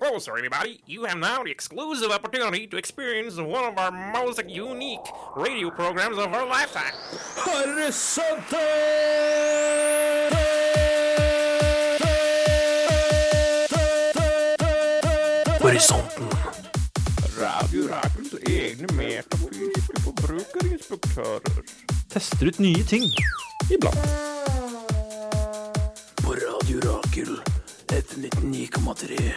closer, everybody. You have now the exclusive opportunity to experience one of our most unique radio programs of our lifetime. Horisonte! Horisonten. Radio Rakels egne metafysiske forbrukerinspektører. Tester ut nye ting. Iblant. På Radio Rakel. F99,3.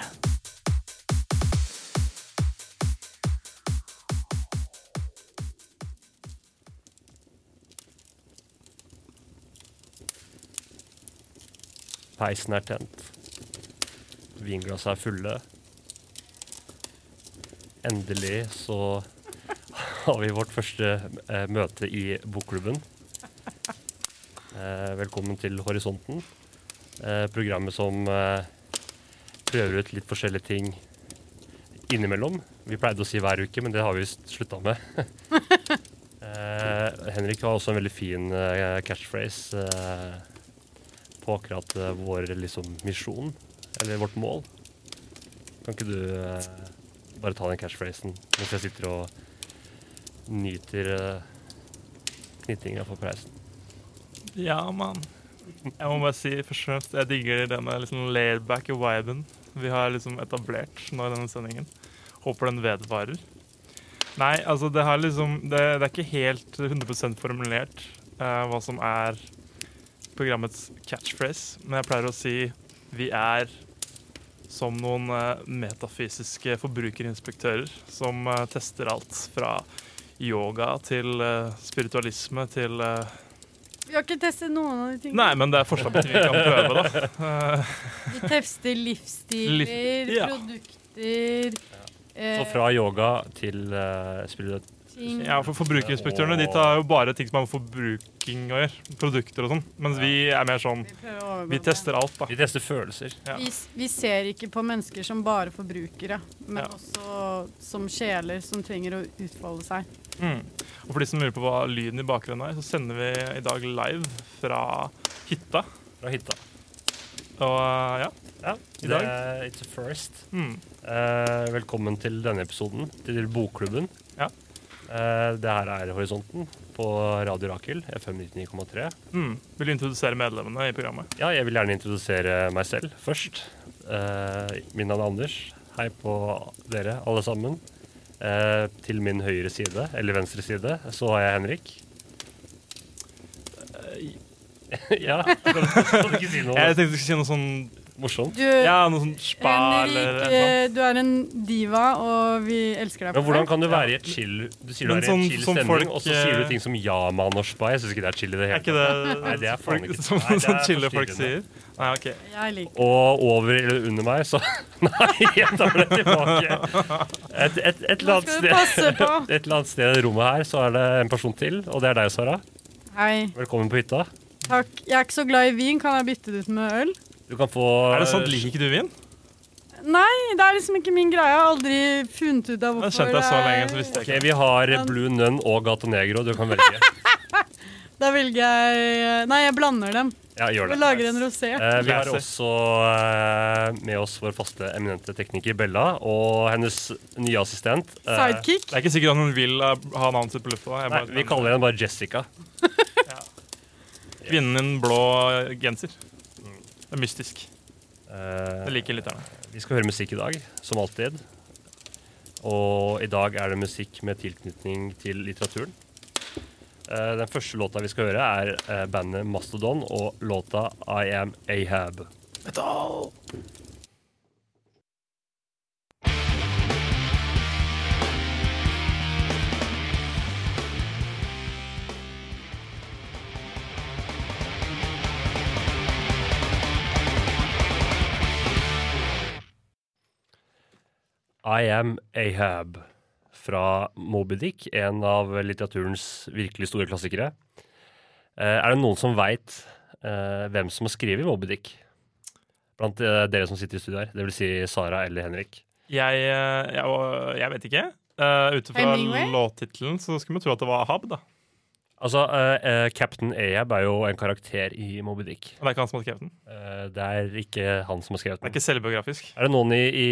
Peisen er tent. Vinglassene er fulle. Endelig så har vi vårt første eh, møte i bokklubben. Eh, velkommen til Horisonten. Eh, programmet som eh, prøver ut litt forskjellige ting innimellom. Vi pleide å si hver uke, men det har vi slutta med. eh, Henrik har også en veldig fin eh, catchphrase. Eh, på akkurat eh, vår liksom, misjon, eller vårt mål. Kan ikke du eh, bare ta den cashphrasen mens jeg sitter og nyter eh, knittinga for preisen? Ja, mann. Jeg må bare si først og fremst, jeg digger denne liksom laidback viben vi har liksom etablert nå i denne sendingen. Håper den vedvarer. Nei, altså det har liksom Det, det er ikke helt 100 formulert eh, hva som er programmets catchphrase, men jeg pleier å si vi er som noen eh, metafysiske forbrukerinspektører som eh, tester alt fra yoga til eh, spiritualisme til eh, Vi har ikke testet noen av de tingene. Nei, men det er fortsatt vi kan prøve, da. Eh, Vi tester livsstiler, Liv- ja. produkter Så eh, fra yoga til eh, spirit- ting. Ja, for Forbrukerinspektørene de tar jo bare ting som har med forbruking å gjøre. Produkter og sånn. Mens vi er mer sånn Vi prøver å overgå Vi det. tester alt, da. Vi tester følelser. Ja. Vi, s- vi ser ikke på mennesker som bare forbrukere, men Ja. også som sjeler som trenger å utfolde seg. Mm. Og for de som lurer på hva lyden i bakgrunnen er, så sender vi i dag live fra hytta. Fra hytta. Og eh, ja. Ja, I dag. det er Eh, It's a first. Mm. Eh, velkommen til denne episoden, til Bokklubben. Ja. Eh, det her er Horisonten på Radio Rakel, FM 99,3. Mm. Vil du introdusere medlemmene i programmet? Ja, jeg vil gjerne introdusere meg selv først. Eh, mitt navn er Anders. Hei på dere, alle sammen. Eh, til min høyre side, eller venstre side, så har jeg Henrik. Eh, ja, kan du kan du ikke si noe Jeg tenkte du skulle si noe sånn morsomt? Du, Ja, noe sånn spa eller Henrik, et eller eh, du er en diva, og vi elsker deg Men hvordan det. kan du være i et chill Du sier du Men er i en sånn- chill som stemning, folk, og så sier eh, du ting som ja, mann og spa. Jeg syns ikke det er chill i det Er hele ikke det Nei, det er faen folk, ikke- som, Nei, det er sånn chille folk sier? forstyrrende. Nei, OK. Jeg liker Og over eller under meg, så Nei, jeg tar det tilbake. Et, et, et, eller Nå annet skal sted. du passe på. Et eller annet sted i rommet her så er det en person til, og det er deg, Sara. Hei, Velkommen på hytta. takk. Jeg er ikke så glad i vin. Kan jeg bytte det ut med øl? Du kan få Er det sant? Liker ikke du vin? Nei, det er liksom ikke min greie. Jeg har aldri funnet ut av Det hvorfor skjønte jeg så det er- lenge, så visste jeg Ok, Vi har Blue Nun og Gato Negro. Du kan velge. Da velger jeg eh, Nei, jeg blander dem Ja, gjør og det. lager en rosé. Eh, vi har Classy. også eh, med oss vår faste eminente tekniker Bella og hennes nye assistent. eh, Sidekick. Det er ikke sikkert at hun vil eh, ha navnet sitt på lufta. Jeg Nei, bare- vi kaller henne bare Jessica. Kvinnen i en blå eh, genser. Det er mystisk. Eh, Det liker lytterne. Vi skal høre musikk i dag, som alltid. Og i dag er det musikk med tilknytning til litteraturen. Eh, Den første låta vi skal høre, er eh, bandet Mastodon og låta I Am Ahab. Metal. I Am Ahab fra Moby Dick, en av litteraturens virkelig store klassikere. Eh, Er det noen som veit hvem som har skrevet Moby Dick? Blant eh, dere som sitter i studio her, dvs. Si Sara eller Henrik. Jeg, eh, jeg, var- jeg vet ikke. Eh, ut fra Hemingway? låttittelen så skulle vi tro at det var Ahab, da. Altså, eh, eh, Captain Ahab er jo en karakter i Moby Dick. Det er ikke han som har skrevet den. Eh, det er ikke han som har skrevet Det er den. ikke selvbiografisk. Er det noen i, i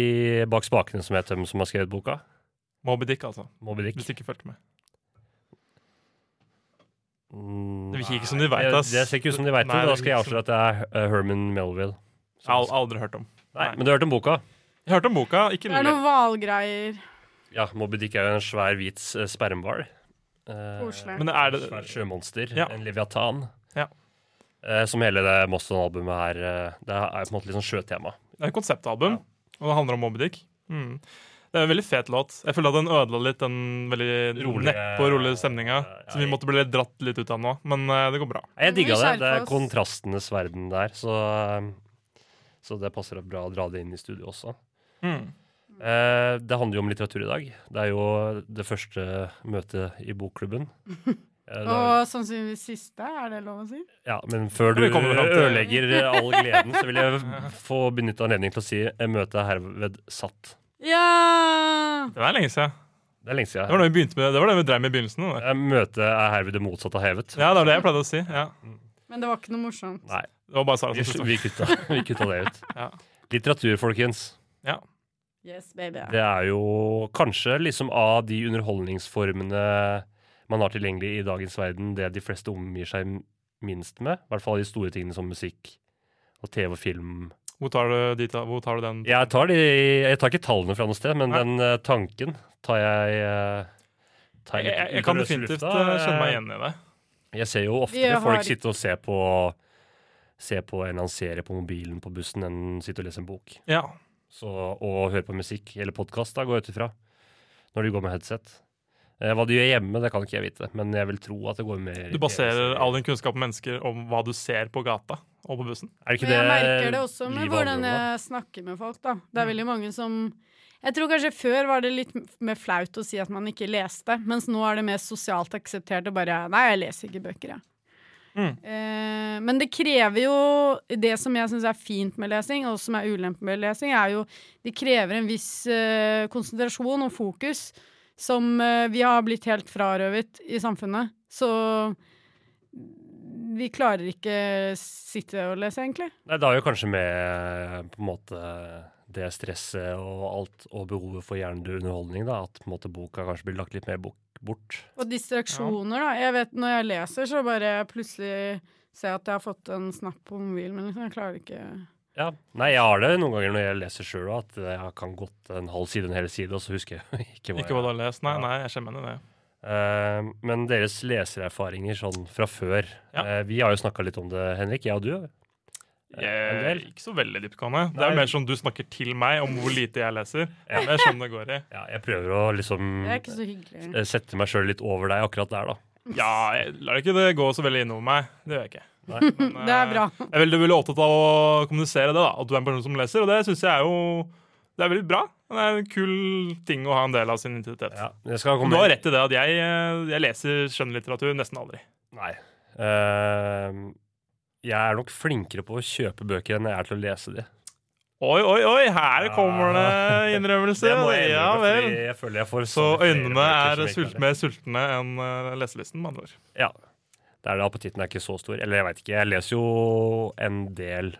bak spakene som heter dem som har skrevet boka? Moby Dick, altså. Moby Dick? Hvis du ikke fulgte med. Mm, Det virker ikke som de vet, det, ass. det ser ikke ut som de veit det. Nei, Da det skal jeg virker som- avsløre at det er eh, Herman Melville. Jeg har al- aldri hørt om. Nei, men du har hørt om boka? Jeg hørte om boka, ikke Det er lest. noen hvalgreier. Ja, Moby Dick er jo en svær hvit eh, spermhval. Eh, Koselig. Men er det Svært sjømonster. Ja. En leviatan. Ja. Eh, som hele det Moston-albumet her eh, Det er på en måte litt sånn sjøtema. Det er et konseptalbum, og det handler om Moby Dick. Mm. Det er en veldig fet låt. Jeg føler at den ødela litt den veldig Rolige- neppe og rolige stemninga. Som vi måtte bli litt dratt litt ut av nå, men eh, det går bra. Nei, Jeg Men vi digga det. Det skjerper er oss. kontrastenes verden der. Så, eh, så det passer bra å dra det inn i studio også. Mm. Eh, det handler jo om litteratur i dag. Det er jo det første møtet i bokklubben. Eh, det er- Og sannsynligvis siste, er det lov å si? Ja, men før du Vi kommer frem til- ødelegger all gleden, så vil jeg få benytte anledningen til å si eh, møtet er herved satt. Ja! Det er lenge siden. Det er lenge Det var siden. det vi begynte med, det var det vi drev med i begynnelsen. Det. Eh, Møtet er herved det motsatte av hevet. Ja, det var det jeg pleide å si. Ja. Men det var ikke noe morsomt. Nei, Det var bare Sara vi, som sluttet. vi, kutta, vi kutta det ut. Ja. Litteratur, folkens. Ja. Yes, baby. Det er jo kanskje liksom av de underholdningsformene man har tilgjengelig i dagens verden, det de fleste omgir seg minst med. I hvert fall de store tingene som musikk og TV og film. Hvor tar du, de ta, hvor tar du den? Jeg tar, de, jeg tar ikke tallene fra noe sted, men Nei. den eh, tanken tar jeg eh, tar Jeg, litt jeg, ut jeg av kan løse definitivt lufta. eh, kjenne meg igjen i det. Jeg ser jo Vi oftere har folk ikke- sitte og se på, se på en eller annen serie på mobilen på bussen enn sitte og lese en bok. Ja. Så, og høre på musikk eller podkast, går jeg ut ifra. Når de går med headset. Eh, hva de gjør hjemme, det kan ikke jeg vite, men jeg vil tro at det går mer Du baserer all din kunnskap om mennesker om hva du ser på gata og på bussen. Er det ikke Men jeg det merker det også med livet handler om, hvordan da? Mm. jeg snakker med folk, da. Det er veldig mange som Jeg tror kanskje før var det litt m- mer flaut å si at man ikke leste, mens nå er det mer sosialt akseptert å bare Nei, jeg leser ikke bøker, jeg. Mm. Eh, men det krever jo Det som jeg syns er fint med lesing, og som er ulempen med lesing, er jo Det krever en viss eh, konsentrasjon og fokus som eh, vi har blitt helt frarøvet i samfunnet. Så vi klarer ikke sitte og lese, egentlig. Nei, det har jo kanskje med på en måte det stresset og alt, og behovet for hjernedød underholdning, da, at på en måte boka kanskje blir lagt litt mer bok bort. Og distraksjoner, da. Jeg vet, Når jeg leser, så bare plutselig ser jeg at jeg har fått en snap på mobilen, men liksom, jeg klarer ikke Ja. Nei, jeg har det noen ganger når jeg leser sjøl òg, at jeg kan gått en halv side, en hel side, og så husker jeg ikke hva Ikke hva du har jeg lest. Nei, Ja. nei, jeg kjenner meg igjen i det. Eh, Men deres lesererfaringer sånn fra før Ja. eh, Vi har jo snakka litt om det, Henrik, jeg og du. eh, en Jeg, del. ikke så veldig dyptgående. Det er Nei. mer sånn du snakker til meg om hvor lite jeg leser. Men Jeg skjønner det går i. Ja, jeg prøver å liksom Det er ikke så hyggelig. eh, sette meg sjøl litt over deg akkurat der, da. Ja, jeg lar ikke det gå så veldig innover meg. Det gjør jeg ikke. Men, Det er eh, bra. Jeg er veldig, veldig opptatt av å kommunisere det, da. At du er en person som leser, og det syns jeg er jo Det er veldig bra. Det er en kul ting å ha en del av sin identitet. Ja. Jeg skal Men komme Du har rett i det at jeg, eh, jeg leser skjønnlitteratur nesten aldri. Nei. Eh, jeg er nok flinkere på å kjøpe bøker enn jeg er til å lese de. Oi, oi, oi, her Ja. kommer det innrømmelser! Ja vel. fordi jeg føler jeg får Så stadig flere øynene bøker er som jeg ikke sult, har lest. mer sultne enn eh, leselysten, med andre ord. Ja. Det er det appetitten er ikke så stor. Eller jeg veit ikke. Jeg leser jo en del.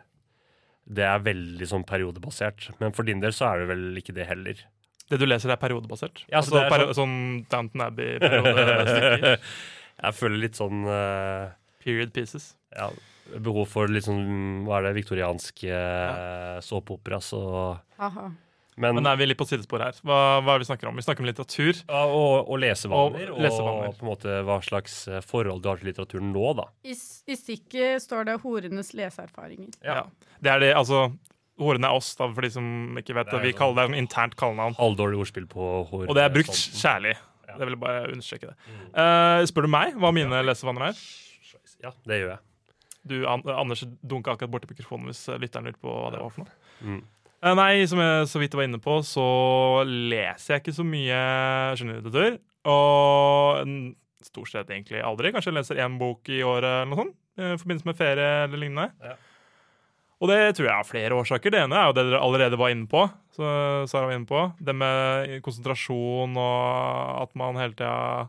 Det er veldig sånn periodebasert. Men for din del så er det vel ikke det heller. Det du leser, er periodebasert? Ja, altså, så det er peri- sånn Downton Abbey-periode? Jeg føler litt sånn eh, Period pieces. ja, behov for litt sånn Hva er det? Viktoriansk uh, såpeopera, så Haha. Men, Men er vi litt på sidespor her? Hva, hva er det vi snakker om? Vi snakker om litteratur. Ja, og, og lesevaner, Og og, lesevaner. på en måte hva slags eh, forhold du har til litteraturen nå, da. I, s- I stykket står det 'horenes leseerfaringer'. Ja. Det er det, altså Horene er oss, da, for de som ikke vet Det er sånn- det. Vi jo- kaller det en internt kallenavn. Halvdårlig ordspill på hår. Og det er brukt sånn. kjærlig. Ja. Mm. Det vil jeg bare understreke det. Eh, spør du meg hva mine lesevaner er? Ja, det gjør jeg. Du, An Anders dunka akkurat borti mikrofonen hvis eh, lytteren lurte på hva det var for noe. Mm. Eh, nei, som jeg så vidt var inne på, så leser jeg ikke så mye skjønnlitteratur. Og n- stort sett egentlig aldri. Kanskje jeg leser én bok i året eller noe sånt. eh, I forbindelse med ferie eller lignende. Ja. Og det tror jeg har flere årsaker. Det ene er jo det dere allerede var inne på. Så Sara var inne på. Det med konsentrasjon og at man hele tida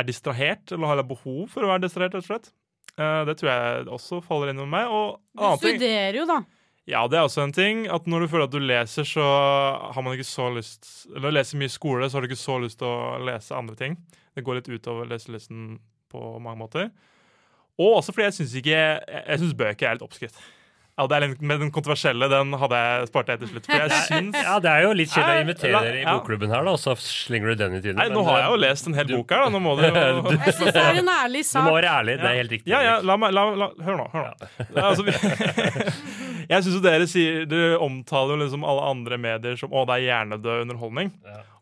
er distrahert, eller har behov for å være distrahert, rett og slett. Eh, det tror jeg også faller inn med meg. Og Du Ah, annen ting studerer jo, da. Ja, det er også en ting. At når du føler at du leser, så har man ikke så lyst Eller leser mye skole, så har du ikke så lyst til å lese andre ting. Det går litt utover leselysten på mange måter. Og også fordi jeg syns ikke Jeg, jeg synes bøker er litt oppskrytt. Ja, det er litt, men den kontroversielle den hadde jeg spart deg til slutt. For jeg syns Ja, det er jo litt kjedelig å invitere Nei, dere i ja. bokklubben her, da, og så slenger du den ut i eh, Nei, nå har jeg jo lest en hel bok her, da. Nå må du jo Jeg syns det er en ærlig Du må sak. være ærlig. Det er helt riktig. Ja, ja, Henrik. la meg la, la, Hør nå. hør nå. Altså, vi- jeg syns jo dere sier Dere omtaler jo liksom alle andre medier som å, det er hjernedød underholdning.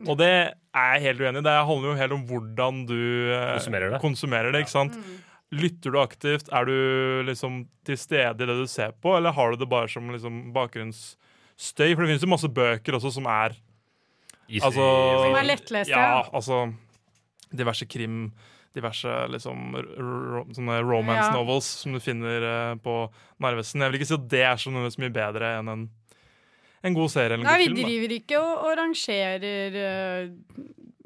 Og det er jeg helt uenig i. Det handler jo helt om hvordan du eh, Konsumerer det. konsumerer det, ikke sant? Mm. Lytter du aktivt? Er du liksom til stede i det du ser på, eller har du det bare som liksom bakgrunnsstøy? For det finnes jo masse bøker også som er Easy. Altså, Som er lettleste, Ja, ja. altså diverse krim, diverse liksom r- r- sånne romance Ja. novels som du finner eh, på Narvesen. Jeg vil ikke si at det er så nødvendigvis mye bedre enn en, en god serie eller en Nei, vi god film. driver ikke og, og rangerer eh,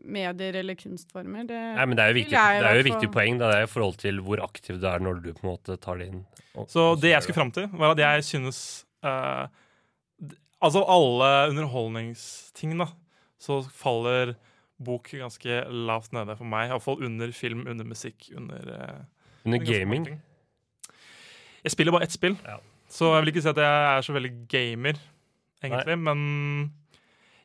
medier eller kunstformer. Det, Nei, men det er jo viktig, Vil jeg i det er jo hvert viktig fall. poeng. Da. Det er i forhold til hvor aktiv du er når du på en måte tar det inn. Da. Og- Så og det gjør jeg skulle fram til, var at jeg synes eh, d- Altså alle underholdningsting, da, så faller bok ganske lavt nede for meg. Iallfall under film, under musikk, under eh, Under Det er ganske gaming. mange ting. Jeg spiller bare ett spill, Ja. så jeg vil ikke si at jeg er så veldig gamer, egentlig. Men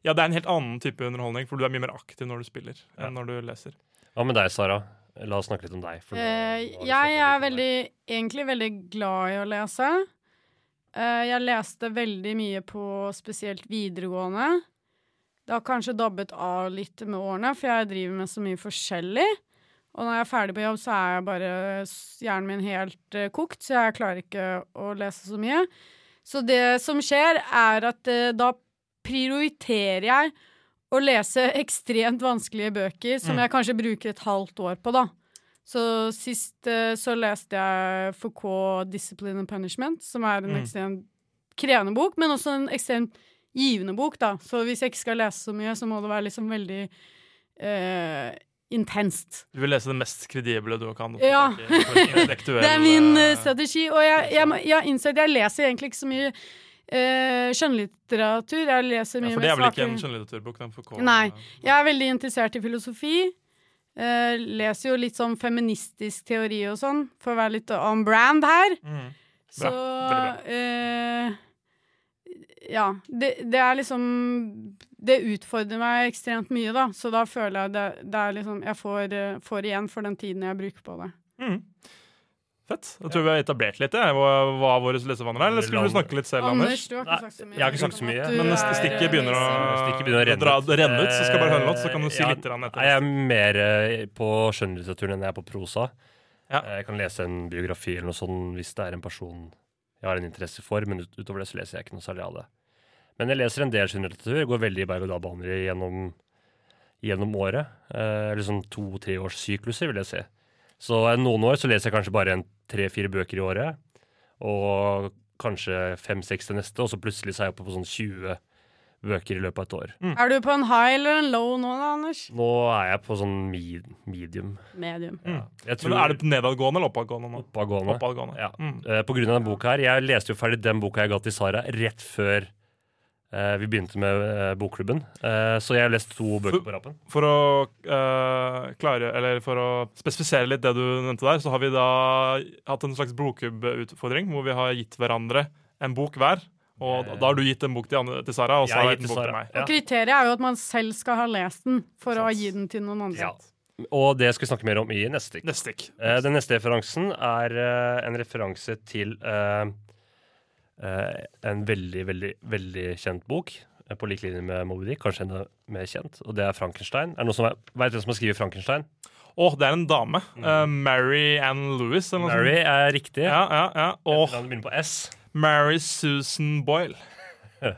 ja, det er en helt annen type underholdning, for du er mye mer aktiv når du spiller enn når du leser. Hva med deg, Sara? La oss snakke litt om deg. for nå har Eh, vi snakket jeg litt er om deg. veldig, egentlig veldig glad i å lese. Eh, jeg leste veldig mye på spesielt videregående. Det har kanskje dabbet av litt med årene, for jeg driver med så mye forskjellig. Og når jeg er ferdig på jobb, så er jeg bare s- hjernen min helt eh, kokt, så jeg klarer ikke å lese så mye. Så det som skjer, er at eh, da prioriterer jeg å lese ekstremt vanskelige bøker, som jeg kanskje bruker et halvt år på, da. Så sist eh, så leste jeg Foucault 'Discipline and Punishment', som er en Mm. ekstremt krevende bok, men også en ekstremt givende bok, da. Så hvis jeg ikke skal lese så mye, så må det være liksom veldig eh, intenst. Du vil lese det mest kredible du kan. Ja. det Det er min eh, strategi, og jeg, jeg, må- jeg innser at jeg leser egentlig ikke så mye eh, skjønnlitteratur. Jeg leser mye Ja, for det mer er vel ikke en svakere- skjønnlitteraturbok? den får gå- Nei. Jeg er veldig interessert i filosofi. Eh, leser jo litt sånn feministisk teori og sånn, for å være litt on brand her. Mm. Så veldig eh, Ja. Det, det er liksom Det utfordrer meg ekstremt mye, da. Så da føler jeg det, det er liksom Jeg får, eh, får igjen for den tiden jeg bruker på det. Mm. Fett. Jeg tror vi har etablert litt jeg, hva, hva våre lesevaner er. Eller skulle du Lan- snakke litt selv, Anders, Anders? du har Nei, ikke sagt så mye. jeg har ikke sagt så mye, At du Men er, eh, stikket begynner å, Stikket begynner å renne dra, ut. renne ut, så skal jeg bare høre en låt, så kan du si Ja, litt grann Nei, etter. jeg er mer eh, på skjønnlitteraturen enn jeg er på prosa. Ja. Eh, Jeg kan lese en biografi eller noe sånt hvis det er en person jeg har en interesse for, men ut- utover det så leser jeg ikke noe særlig av det. Men jeg leser en del skjønnlitteratur, går veldig i berg-og-dal-baner gjennom, gjennom året. Eh, eller sånn to-tre års sykluser, vil jeg si. Så eh, noen år så leser jeg kanskje bare en tre-fire bøker i året, og kanskje fem-seks til neste, og så plutselig så er jeg oppe på sånn 20 bøker i løpet av et år. Mm. Er du på en high eller en low nå, da, Anders? Nå er jeg på sånn mi- medium. Medium. Ja. Jeg Mm. Men er det nedadgående eller oppadgående nå? Oppagående. Oppadgående. Ja. Mm. Eh, På grunn av den boka her. Jeg leste jo ferdig den boka jeg ga til Sara rett før eh, vi begynte med eh, bokklubben. Eh, så jeg har lest to bøker på rappen. For å eh, klare, eller for å spesifisere litt det du nevnte der, så har vi da hatt en slags blodkubbutfordring, hvor vi har gitt hverandre en bok hver. Og da- da har du gitt en bok til, Anne, til Sara, og så Jeg har har jeg gitt en gitt bok til Sara. meg. Ja. Og kriteriet er jo at man selv skal ha lest den for å Sant. gi den til noen andre. Ja. Og det skal vi snakke mer om i neste stikk. Neste stikk. Eh, den neste referansen er eh, en referanse til eh, eh, en veldig, veldig, veldig kjent bok. eh, På lik linje med Moby Dick, kanskje enda mer kjent. Og det er Frankenstein. Er det noen som er, vet hvem som har skrevet Frankenstein? Å, det er en dame. Eh, Mary Ann Lewis, eller noe sånt. Mm. Mary er riktig. Ja, ja, ja. Og Navnet begynner på S. Mary Susan Boyle.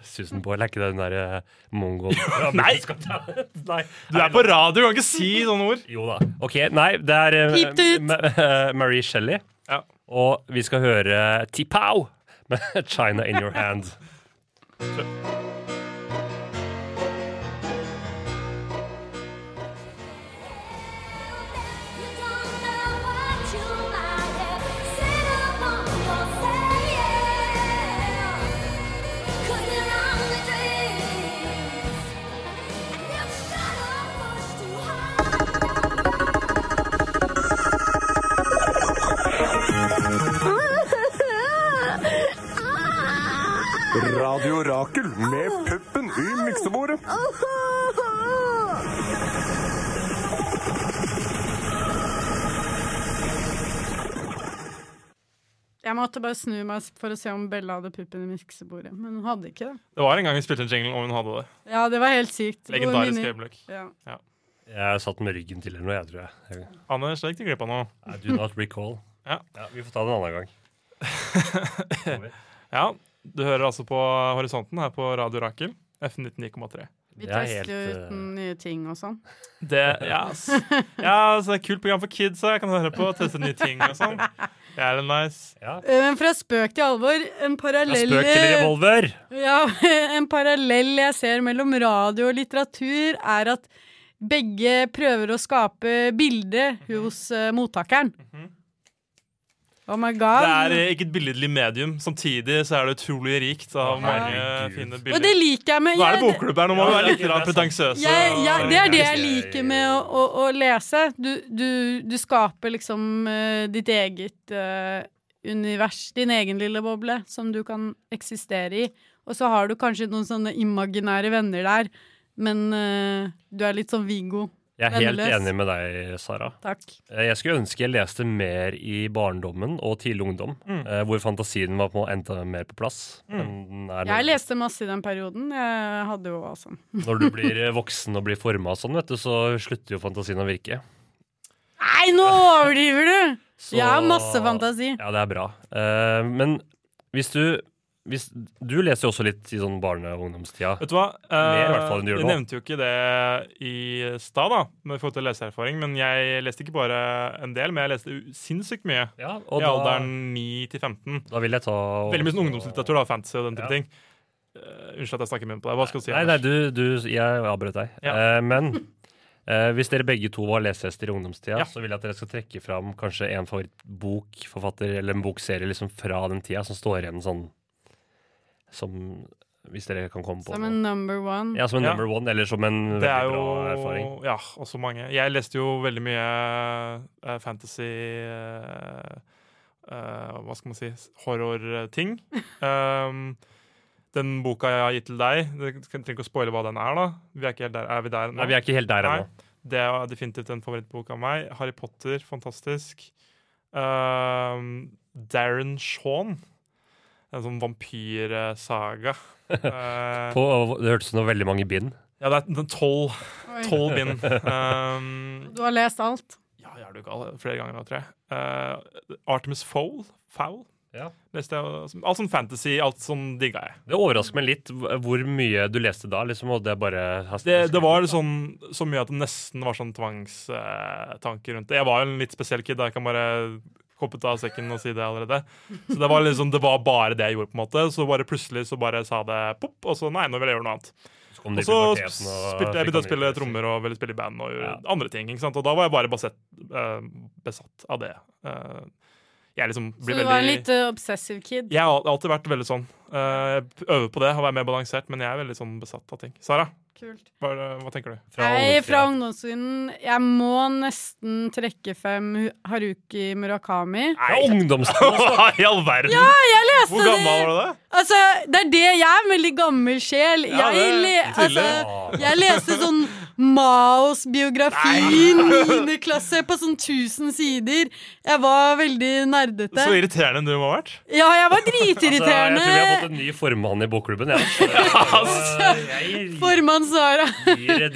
Susan Boyle, er ikke det den der eh, mongol... Nei! Nei. Du er på radio, du kan ikke si sånne ord! Jo da. Ok, nei, det er eh, Pip det ut! Ma- eh, Marie Shelley. Ja. Og vi skal høre Tipao med China In Your Hand. Thank Radio Rakel med puppen i miksebordet. Jeg måtte bare snu meg for å se om Bella hadde puppen i miksebordet, men hun hadde ikke det. Det var en gang vi spilte en jingle, og hun hadde det. Ja, det var helt sykt. Gode Legendarisk minner. øyeblikk. Ja. Jeg satt med ryggen til eller noe, jeg tror jeg. jeg. Anders, det gikk du glipp av noe. I do not recall. Ja. Vi får ta det en annen gang. Over. Ja, du hører altså på Horisonten her på Radio Rakel. F19,3. Vi Det er helt, tester jo ut eh, nye ting og sånn. Det, ja, s- ja, så det er et kult program for kids. Jeg kan høre på og teste nye ting og sånn. Det er nice. Eh, Men fra spøk til alvor, Det en er parallell eh, spøk til revolver! Ja, en parallell jeg ser mellom radio og litteratur, er at begge prøver å skape bilde hos eh, mottakeren. Mhm. Oh my god. Det er eh, ikke et billedlig medium. Samtidig så er det utrolig rikt av mange herregud. fine og det bilder. liker jeg med Nå er det jeg- bokklubb her, nå må vi Ja, være litt det er altså. grann sant. pretensiøse. jeg, jeg, det er det jeg Jeg- liker med å, å, å lese. Du, du, du skaper liksom eh, ditt eget eh, univers, din egen lille boble, som du kan eksistere i. Og så har du kanskje noen sånne imaginære venner der, men eh, du er litt sånn Viggo. Jeg er helt Vennløs. enig med deg, Sara. Takk. Eh, Jeg skulle ønske jeg leste mer i barndommen og tidlig ungdom, Mm. eh, hvor fantasien var på enda mer på plass. enn den er nå. Jeg leste masse i den perioden. Jeg hadde jo altså Når du blir eh, voksen og blir forma sånn, vet du, så slutter jo fantasien å virke. Nei, nå overdriver du! Så- Jeg har masse fantasi. Ja, det er bra. Eh, men hvis du hvis, Du leser jo også litt i sånn barne- og ungdomstida. Vet du hva? Mer i hvert fall enn du jeg gjør nå. nevnte jo ikke det i stad, da, med forhold til leseerfaring, men jeg leste ikke bare en del, men jeg leste u- sinnssykt mye. Ja, og I da, alderen 9 til 15. da vil jeg ta og- Veldig mye sånn ungdomslitteratur, da, fantasy og den type Ja. ting. Eh, unnskyld at jeg snakker i munnen på deg. Hva skal du si? Nei, nei, du, du Jeg avbrøt deg. Ja. Eh, men eh, hvis dere begge to var lesehester i ungdomstida, Ja. så vil jeg at dere skal trekke fram kanskje en favorittbok, forfatter eller en bokserie liksom fra den tida, som står igjen sånn som Hvis dere kan komme på Som noe. en number one. Ja, som en Ja. number one, eller som en veldig Det er jo bra erfaring. Ja, også mange. Jeg leste jo veldig mye eh, fantasy eh, eh, Hva skal man si horrorting. Um, den boka jeg har gitt til deg, det- jeg trenger ikke å spoile hva den er, da. Vi er ikke helt der. Er vi der nå? Nei, vi er ikke helt der Nei. ennå. Det er definitivt en favorittbok av meg. Harry Potter, fantastisk. Um, Darren Shaun. En sånn vampyrsaga. Uh, På, og det hørtes ut som det var veldig mange bind. ja, det er tolv Oi. Tolv bind. Um, Du har lest alt. ja, jeg er du gal. Flere ganger nå, tror jeg. Eh, Artemis Fowl. Fowl. Ja. Leste jeg, også. alt sånn fantasy, alt sånn digga jeg. Det overrasker meg litt hv- hvor mye du leste da. liksom, og Det bare... Det, det var sånn, så mye at det nesten var sånn tvangstanker rundt det. Jeg var jo en litt spesiell kid, da. jeg kan bare hoppe ut av sekken og si det allerede. Så det var liksom, det var bare det jeg gjorde, på en måte. Så bare plutselig så bare sa det pop, og så nei, nå vil jeg gjøre noe annet. Så kom Og det i så puberteten, og spilte jeg fikk begynte å andre spille interesser. trommer og ville spille i band og gjøre Ja. andre ting. ikke sant? Og da var jeg bare basett, eh, besatt av det. Eh, jeg liksom Så blir du veldig var en litt eh, obsessive kid. Jeg har alltid vært veldig sånn. Eh, jeg øver på det, å være mer balansert, men jeg er veldig sånn besatt av ting. Sara, Kult. hva, hva tenker du? Fra Nei, fra ungdomstida. ungdomsskolen Jeg må nesten trekke frem Hu- Haruki Murakami. Fra ungdomstida! I all verden! Jeg leste Hvor gammel var det! du da? Altså, det er det jeg er en veldig gammel sjel. Ja, jeg, det- le, altså, tydelig. jeg leste sånn Maos biografi i niende klasse på sånn 1000 sider. Jeg var veldig nerdete. Så irriterende du må ha vært. Ja, jeg var Altså, jeg tror vi har fått dritirriterende. en ny formann i bokklubben. Jeg, altså, jeg Formann Sara. gir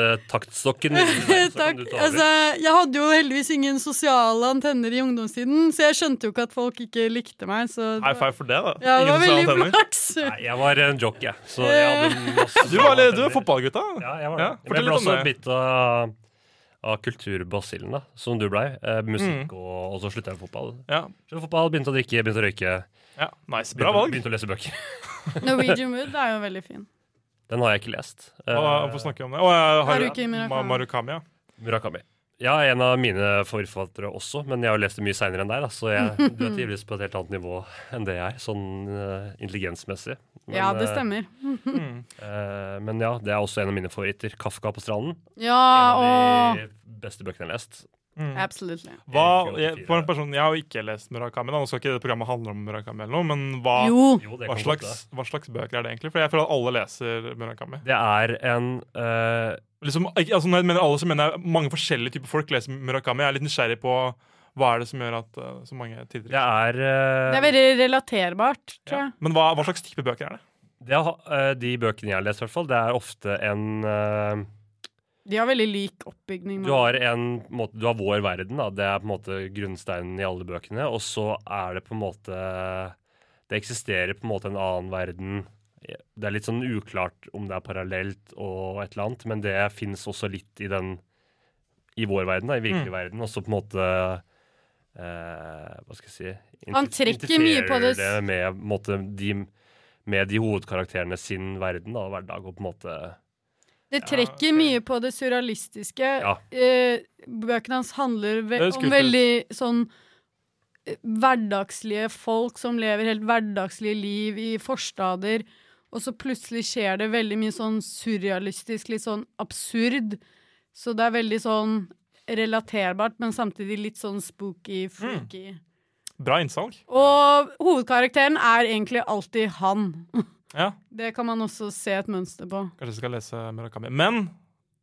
dirigentaktstokken. Takk. Altså, jeg hadde jo heldigvis ingen sosiale antenner i ungdomstiden, så jeg skjønte jo ikke at folk ikke likte meg. Så High five for det, da. Ja, det Ingen var sosiale veldig antenner. flaks. Nei, jeg var en jock, jeg. Så jeg hadde masse Du var, litt- du var fotballgutta. Ja, jeg var det. Ja, Men jeg fortell ble litt om også det. bitt av, av kulturbasillen, da, som du blei. Eh, musikk, Mm. og, og så slutta jeg med fotball. Ja. Sluttet med fotball, Begynte å drikke, begynte å røyke. ja, nice. Bra Begynte, valg. begynte å lese bøker. Norwegian Wood er jo veldig fin. Den har jeg ikke lest. Eh, Hva- Hvorfor snakker vi om det? Å, jeg har- Haruki Murakami. Ma- Murakami. ja. Murakami. Ja, en av mine forfattere også, men jeg har jo lest det mye seinere enn deg, da, så jeg, du er tydeligvis på et helt annet nivå enn det jeg er, sånn eh, intelligensmessig. Men, Ja, det eh, stemmer. eh, men ja, det er også en av mine favoritter. 'Kafka på stranden'. Ja, en av og de beste bøkene jeg har lest. Absolutely. Hva, Egentlig jeg, fire. for en person, jeg har jo ikke lest Murakami. da, Nå skal ikke det programmet handle om Murakami, eller noe, men hva, Jo. Jo, det hva, kan godt slags, hva slags bøker er det egentlig? For jeg føler at alle leser Murakami. Det er en eh, Liksom, ikke- altså, når jeg mener alle, så mener jeg mange forskjellige typer folk leser Murakami. Jeg er litt nysgjerrig på hva er det som gjør at eh, så mange Det tidligere er, eh, Det er veldig relaterbart, tror jeg. Men hva, hva slags type bøker er det? det har- eh, De bøkene jeg har lest, i hvert fall, det er ofte en eh, De har veldig lik oppbygning. Du har en på en måte, Du har vår verden, da. Det er på en måte grunnsteinen i alle bøkene. Og så er det på en måte Det eksisterer på en måte en annen verden. Det er litt sånn uklart om det er parallelt og et eller annet, men det fins også litt i den I vår verden, Mm. da, i virkelig verden. Og så på en måte eh, Hva skal jeg si inter- Han trekker mye på det s- interferer det med, på en måte, de, med de hovedkarakterene sin verden da, og hverdag, og på en måte Det Ja, trekker ok. mye på det surrealistiske. Ja. Eh, bøkene hans handler ve Det er jo om skuespill. veldig sånn eh, hverdagslige folk som lever helt hverdagslige liv i forstader, og så plutselig skjer det veldig mye sånn surrealistisk, litt sånn absurd. Så det er veldig sånn relaterbart, men samtidig litt sånn Mm. spooky, freaky. Bra innsalg. Og hovedkarakteren er egentlig alltid han. Ja, Det kan man også se et mønster på. Kanskje jeg skal lese Murakami. Men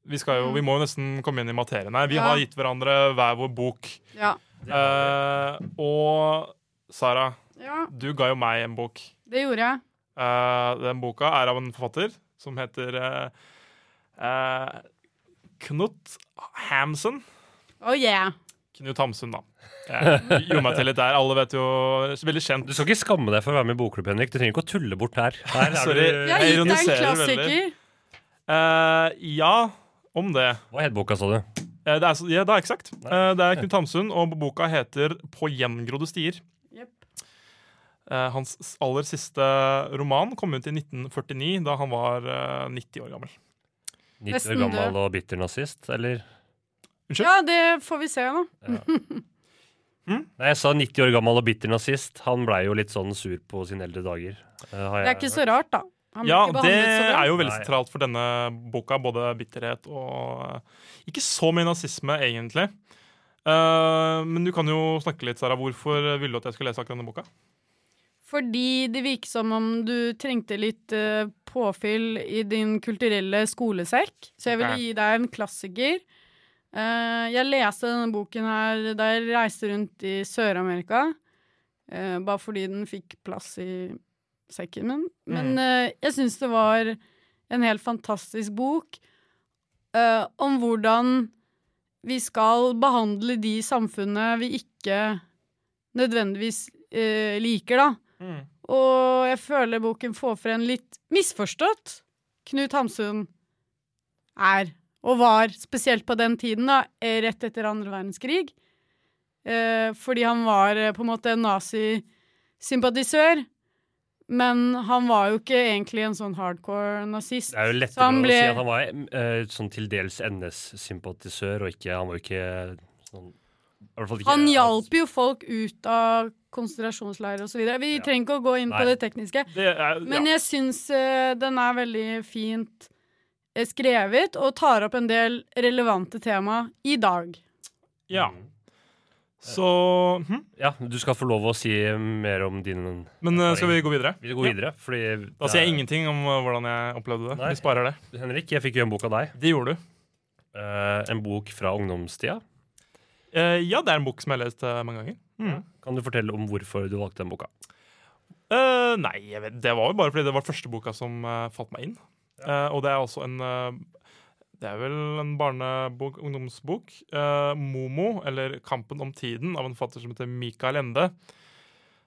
vi, skal jo, vi må jo nesten komme inn i materien her. Vi Mm. Ja. har gitt hverandre hver vår bok. Ja. Eh, og Sara, ja, du ga jo meg en bok. det gjorde jeg. Eh, den boka er av en forfatter som heter eh, eh, Knut Hamsun. Oh yeah. Knut Hamsun, da. Jeg gjorde meg til litt der. Alle vet jo Veldig kjent. Du skal ikke skamme deg for å være med i bokklubb, Henrik. Du trenger ikke å tulle bort her. her er Sorry. du- Jeg Jeg har gitt deg en ironiserer klassiker. veldig. Eh, ja, om det. Hva het boka, sa du? Eh, det er, så- ja, det er eksakt. Eh, det er Knut Hamsun, og boka heter På gjengrodde stier. Jepp. Eh, hans s- aller siste roman kom ut i 1949, da han var eh, 90 år gammel. 90 Nesten år gammel død. og bitter nazist, eller? Ja, det får vi se, da. Nei, jeg sa 90 år gammel og bitter nazist. Han blei jo litt sånn sur på sine eldre dager. eh, har Det er jeg ikke hørt. så rart, da. Han blir Ja, det ikke behandlet så bra. er jo veldig Nei. sentralt for denne boka, både bitterhet og eh, Ikke så mye nazisme, egentlig. Eh, men du kan jo snakke litt, Sara. Hvorfor ville du at jeg skulle lese akkurat denne boka? Fordi det virker som om du trengte litt eh, påfyll i din kulturelle skolesekk. Så jeg ville Ok. gi deg en klassiker. Eh, jeg leste denne boken her da jeg reiste rundt i Sør-Amerika. eh, bare fordi den fikk plass i sekken min. Mm. Men eh, jeg syns det var en helt fantastisk bok eh, om hvordan vi skal behandle de samfunnene vi ikke nødvendigvis eh, liker, da. Mm. Og jeg føler boken får frem litt misforstått Knut Hamsun er, og var, spesielt på den tiden, da, eh, rett etter andre verdenskrig. Eh, fordi han var eh, på en måte en nazisympatisør. Men han var jo ikke egentlig en sånn hardcore nazist. Det er jo Så han lettere ble- å si at han var eh, sånn til dels NS-sympatisør, og ikke Han var jo ikke sånn i hvert fall ikke- Han hjalp jo folk ut av konsentrasjonsleirer osv. Vi trenger ikke å gå inn på Nei. det tekniske. Det er, Men ja. jeg syns eh, den er veldig fint eh, skrevet og tar opp en del relevante tema i dag. ja. Så hm? Ja, du skal få lov å si mer om din Men eh, skal vi gå videre? Vil du gå videre? Fordi Da sier jeg ingenting om eh, hvordan jeg opplevde det. Nei. Vi sparer det. Henrik, jeg fikk jo en bok av deg. Det gjorde du. Eh, en bok fra ungdomstida. Eh, ja, det er en bok som jeg har lest eh, mange ganger. Mm. Kan du fortelle om hvorfor du valgte den boka? Eh, nei, jeg vet, det var jo bare fordi det var første boka som eh, falt meg inn. Eh, og det er også en eh, Det er vel en barnebok, ungdomsbok. eh, 'Momo', eller 'Kampen om tiden', av en forfatter som heter Mikael Ende.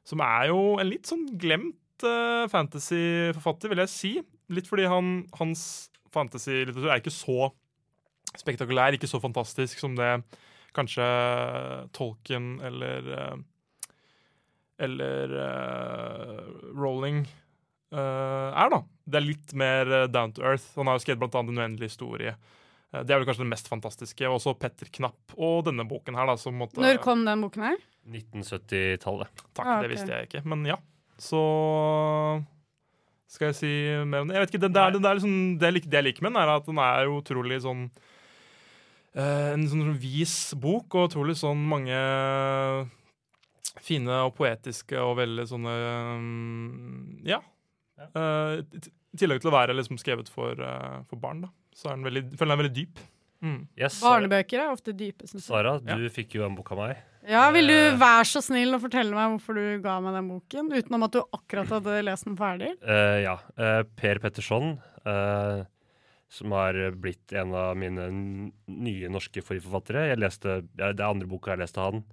Som er jo en litt sånn glemt eh, fantasyforfatter, vil jeg si. Litt fordi han, hans fantasylitteratur er ikke så spektakulær, ikke så fantastisk som det kanskje Tolkien eller eh, eller eh, Rolling eh, er, da. Det er litt mer eh, down to earth. Han har jo skrevet blant annet En uendelig historie. Eh, det er vel kanskje det mest fantastiske. Og også Petter Knapp og denne boken her, da. Som måtte, Når kom den boken her? 1970-tallet. Takk, Ah, ok. det visste jeg ikke. Men ja. Så skal jeg si mer om det? Jeg vet ikke, det, det, er, det, er liksom, det, jeg lik- det jeg liker med den, er at den er jo utrolig sånn eh, en sånn vis bok, og utrolig sånn mange fine og poetiske og veldig sånne mm, Ja. Eh, I t- i tillegg til å være liksom skrevet for, eh, for barn, da. Så er den veldig, jeg føler den er veldig dyp. Mm. Yes, Sara, Barnebøker er ofte dype. Synes jeg. Sara, du fikk jo en bok av meg. Ja, Vil Eh. du være så snill å fortelle meg hvorfor du ga meg den boken? Utenom at du akkurat hadde lest den ferdig? Eh, ja. eh, per Petterson, eh, som har blitt en av mine n- nye norske forfattere. Jeg leste, ja, det er andre boka jeg leste av han.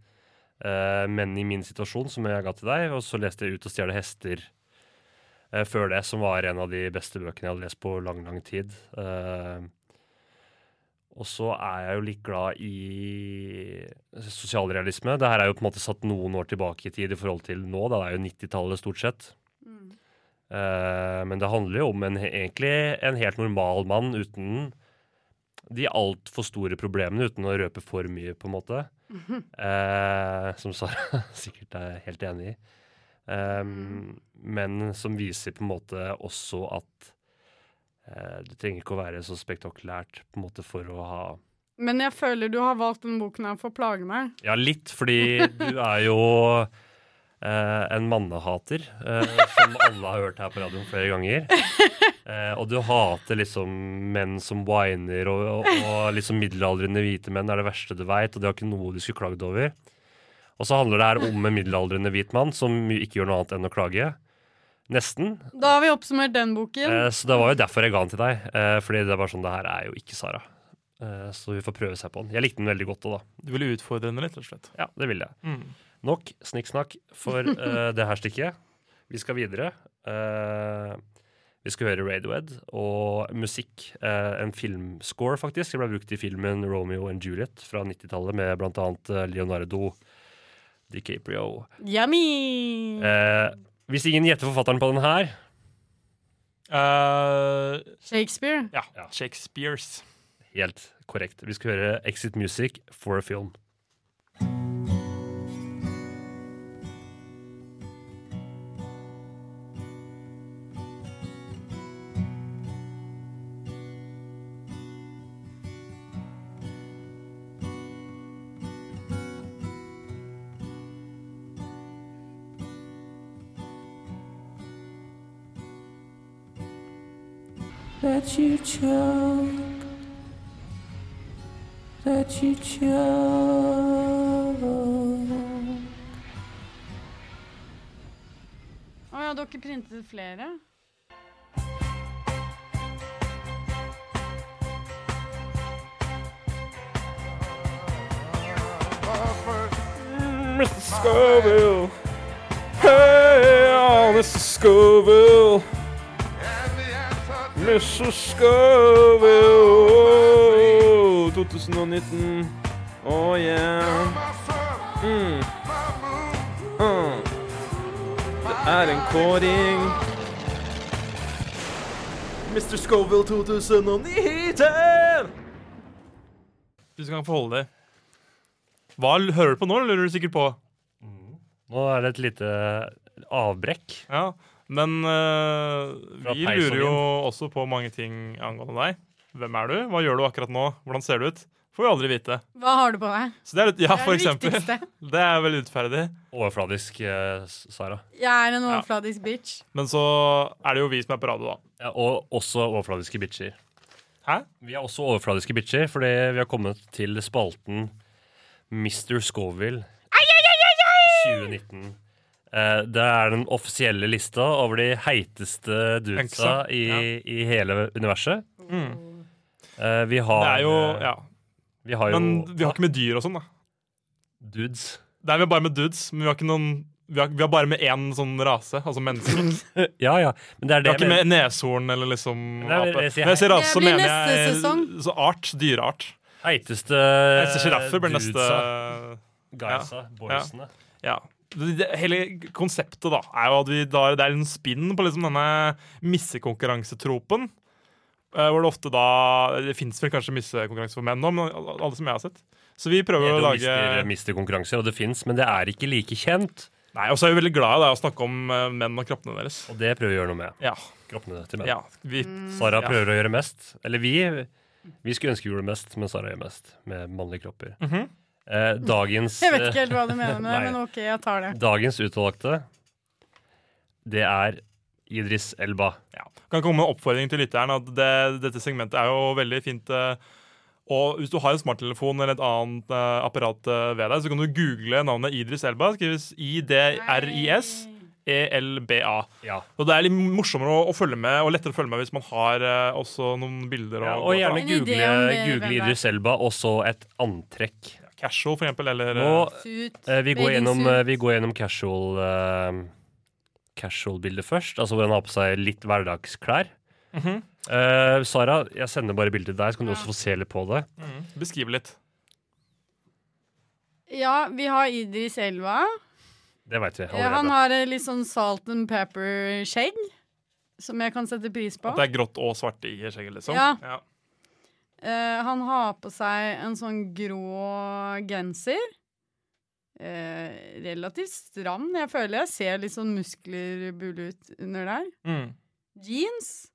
Eh, Men i min situasjon, som jeg ga til deg, og så leste jeg Ut og stjele hester eh, før det, som var en av de beste bøkene jeg hadde lest på lang, lang tid. Eh, og så er jeg jo litt glad i sosialrealisme. Det her er jo på en måte satt noen år tilbake i tid i forhold til nå. Da. Det er jo 90-tallet stort sett. Eh, men det handler jo om en, egentlig en helt normal mann uten de altfor store problemene, uten å røpe for mye, på en måte. Eh, som Sara sikkert er helt enig i. Eh, Men som viser på en måte også at eh, det trenger ikke å være så spektakulært på en måte for å ha Men jeg føler du har valgt den boken her for å plage meg. ja, litt, fordi du er jo eh, en mannehater, eh, som alle har hørt her på radioen flere ganger. Eh, og du hater liksom menn som whiner, og, og, og liksom middelaldrende hvite menn er det verste du veit, og det har ikke noe du skulle klagd over. Og så handler det her om en middelaldrende hvit mann som jo ikke gjør noe annet enn å klage. Nesten. Da har vi oppsummert den boken. Eh, så det var jo derfor jeg ga den til deg. Eh, fordi det var sånn, det her er jo ikke Sara. Eh, så vi får prøve seg på den. Jeg likte den veldig godt òg, da. Du ville utfordre henne, rett og slett. Ja, det ville jeg. Mm. Nok snikksnakk for eh, det her stikket. Vi skal videre. Eh, vi skal høre Radiohead og musikk. eh, en filmscore, faktisk. Det ble brukt i filmen 'Romeo and Juliet' fra 90-tallet med bl.a. Leonardo DiCaprio. Yummy! Eh, hvis ingen gjetter forfatteren på den her Eh, Shakespeare. ja. Ja. Shakespeares. Helt korrekt. Vi skal høre Exit Music for a film. that you choke, that you choke. Å ja, dere printet flere? Mr. Scoville. Hey, oh, Mr. Scoville. Mr. Scoville. 2019. Oh yeah. Mm. Mm. Det er en kåring. Mr. Scoville 2019. Du skal få holde deg. Hva l- hører du på nå, lurer du sikkert på? Nå er det et lite avbrekk. Ja. Men eh, Fra vi peis og lurer jo vind. også på mange ting angående deg. Hvem er du? Hva gjør du akkurat nå? Hvordan ser du ut? Får vi aldri vite. Hva har du på deg? Så det er litt, ja, Det er for det eksempel. viktigste. Det er veldig utferdig. Overfladisk, eh, Sara. Jeg er en overfladisk bitch. Men så er det jo vi som er på radio, da. Ja, og også overfladiske bitcher. Hæ? Vi er også overfladiske bitcher, fordi vi har kommet til spalten Mr. Scoville 2019. Eh, Det er den offisielle lista over de heiteste dudesa Enksa, i, ja. Mm. i hele universet. Eh, Vi har Det er jo Ja. Vi har jo Men vi har ikke med dyr og sånn, da. dudes. Det er vi har bare med dudes, men vi har ikke noen vi har, vi har bare med én sånn rase, altså mennesker. Ja, ja. Men det er Vi det har ikke med jeg neshorn eller liksom Nei, ape. jeg- jeg sier Når jeg sier rase, Det så blir mener neste jeg sesong. så art. Dyreart. mener. heiteste Jeg sier sjiraffer blir neste dudesa, guysa, boysene. Ja. Det, det, hele konseptet da er jo at vi da, det er en spinn på liksom denne missekonkurransetropen. eh, Hvor det ofte da Det fins vel kanskje missekonkurranse for menn nå, men alle alle som jeg har sett. Så vi prøver å Du lage mister, mister konkurranser, og det fins, men det er ikke like kjent. Nei, Og så er vi veldig glad i da, å snakke om eh, menn og kroppene deres. Og det prøver vi å gjøre noe med. Ja. Kroppene til menn. Mm, ja vi, Sara Ja. prøver å gjøre mest. Eller vi Vi skulle ønske vi gjorde det mest, men Sara gjør mest med mannlige kropper. Mhm. eh, dagens, Jeg vet ikke helt hva du mener med det, Nei. men OK, jeg tar det. dagens utvalgte, det er Idris Elba. Ja. Kan komme med en oppfordring til lytteren at det, dette segmentet er jo veldig fint. eh, Og hvis du har en smarttelefon eller et annet eh, apparat eh, ved deg, så kan du google navnet Idris Elba. Det Skrives E I-D-R-I-S-E-L-B-A. Ja. Og det er litt morsommere å, å følge med, og lettere å følge med hvis man har eh, også noen bilder. Og, Ja, og gjerne En idé om google, det, hvem google det er. Idris Elba, og så et antrekk. Casual, for eksempel, eller Nå, Suit. eh, vi, går bathing gjennom, suit. eh, vi går gjennom casual eh, casual-bildet først. Altså hvor han har på seg litt hverdagsklær. Mhm. Eh, Sara, jeg sender bare bildet til deg, så kan du også få se litt på det. eh, mm, beskrive litt. Ja, vi har Idris Elva. Det veit vi Eh, Han allerede. har eh, litt sånn salt and pepper-skjegg, som jeg kan sette pris på. At det er grått og svart i skjegget, liksom. Ja. Ja. Eh, han har på seg en sånn grå genser. Eh, relativt stram. Jeg føler jeg ser litt sånn muskler bule ut under der. Mm. Jeans.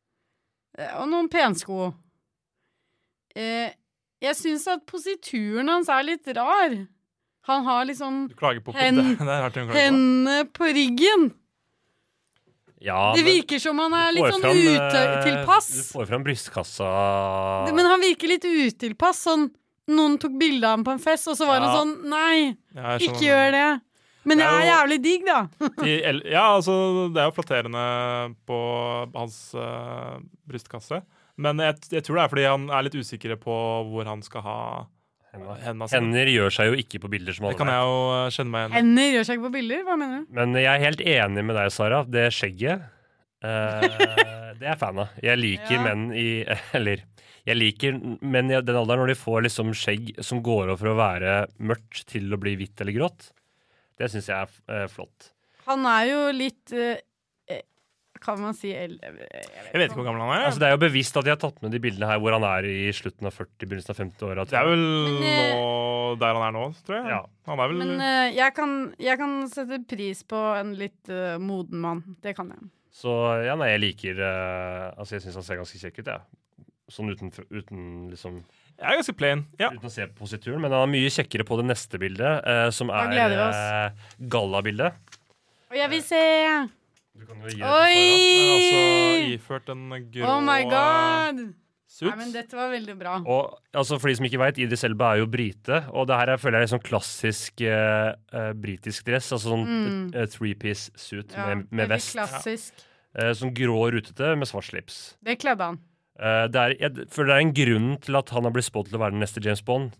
Eh, og noen pensko. Eh, jeg syns at posituren hans er litt rar. Han har liksom Du klager på Hen- det, det er rart hun klager på. hendene på ryggen. Ja, Det men virker som han er du litt får sånn fram, eh, utilpass. Du får fram brystkassa Det- Men han virker litt utilpass. Sånn, noen tok bilde av ham på en fest, og så var han Ja. sånn Nei, Ja, jeg skjønner. ikke gjør det. Men Det jeg er er jo- jævlig digg, da. I el ja, altså, det er jo flatterende på hans eh, brystkasse. Men jeg, jeg tror det er fordi han er litt usikker på hvor han skal ha hendene sine. Hender gjør seg jo ikke på bilder som Det kan alle. jeg jo eh, kjenne meg igjen i. Hender gjør seg ikke på bilder. Hva mener du? Men jeg er helt enig med deg, Sara. Det skjegget, eh, det er jeg fan av. Jeg liker Ja. menn i Eller jeg liker menn i den alderen når de får liksom skjegg som går over fra å være mørkt til å bli hvitt eller grått. Det syns jeg er eh, flott. Han er jo litt eh, eh, Kan man si el jeg vet Jeg vet ikke hvor gammel han er. Altså, det er jo bevisst at de har tatt med de bildene her hvor han er i slutten av 40, begynnelsen av 50-åra. det er vel Men, eh, nå der han er nå, tror jeg. Ja. Han er vel Men eh, jeg, kan, jeg kan sette pris på en litt eh, moden mann. Det kan jeg. Så ja, nei, jeg liker eh, Altså, jeg syns han ser ganske kjekk ut, jeg. Ja. Sånn uten, uten liksom Jeg er ganske plain. Ja. Uten å se på posituren, men han er mye kjekkere på det neste bildet, eh, som Da er gleder vi eh, gallabildet. Og Eh, jeg vil se! Du kan jo gi det til Sara. Han er altså Oi! iført en grå Oh my god! eh, Nei, suit. men dette var veldig bra. Og altså, For de som ikke veit, Idris Elba er jo brite, og det her er, føler jeg er sånn klassisk eh, eh, britisk dress. Altså sånn Mm. eh, three-piece suit Ja, med, med veldig vest. Klassisk. Eh, sånn grå rutete med svart slips. Det kledde han. Eh, det er, jeg føler det er en grunn til at han har blitt spådd til å være den neste James Bond.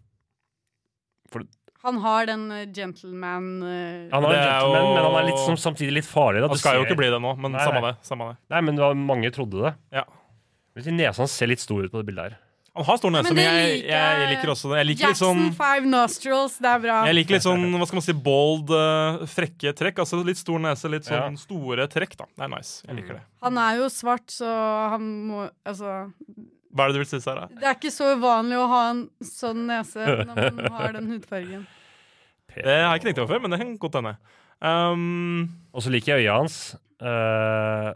Han har den eh, gentleman eh, Han er Det en er jo- gentleman, men han er litt, som, samtidig litt farlig. Da. Han Du skal jo ser- ikke bli det nå, men Nei, samme nei. det. Samme det. Nei, men det var, mange trodde det. Ja. Men sin Nesa hans ser litt stor ut på det bildet her. Han har stor nese, Men altså, men det jeg, liker jeg jeg. liker også det. Jeg liker litt Jackson sånn Five Nostrils, det er bra. Jeg liker litt sånn hva skal man si, bold, eh, frekke trekk. Altså Litt stor nese, litt sånn Ja. store trekk. da. Det er nice. Jeg liker det. Han er jo svart, så han må Altså, Hva er det du vil si, Sara? det er ikke så uvanlig å ha en sånn nese når man har den hudfargen. Det har jeg ikke tenkt over før, men det kan godt hende. Um, Og så liker jeg øya hans. Eh,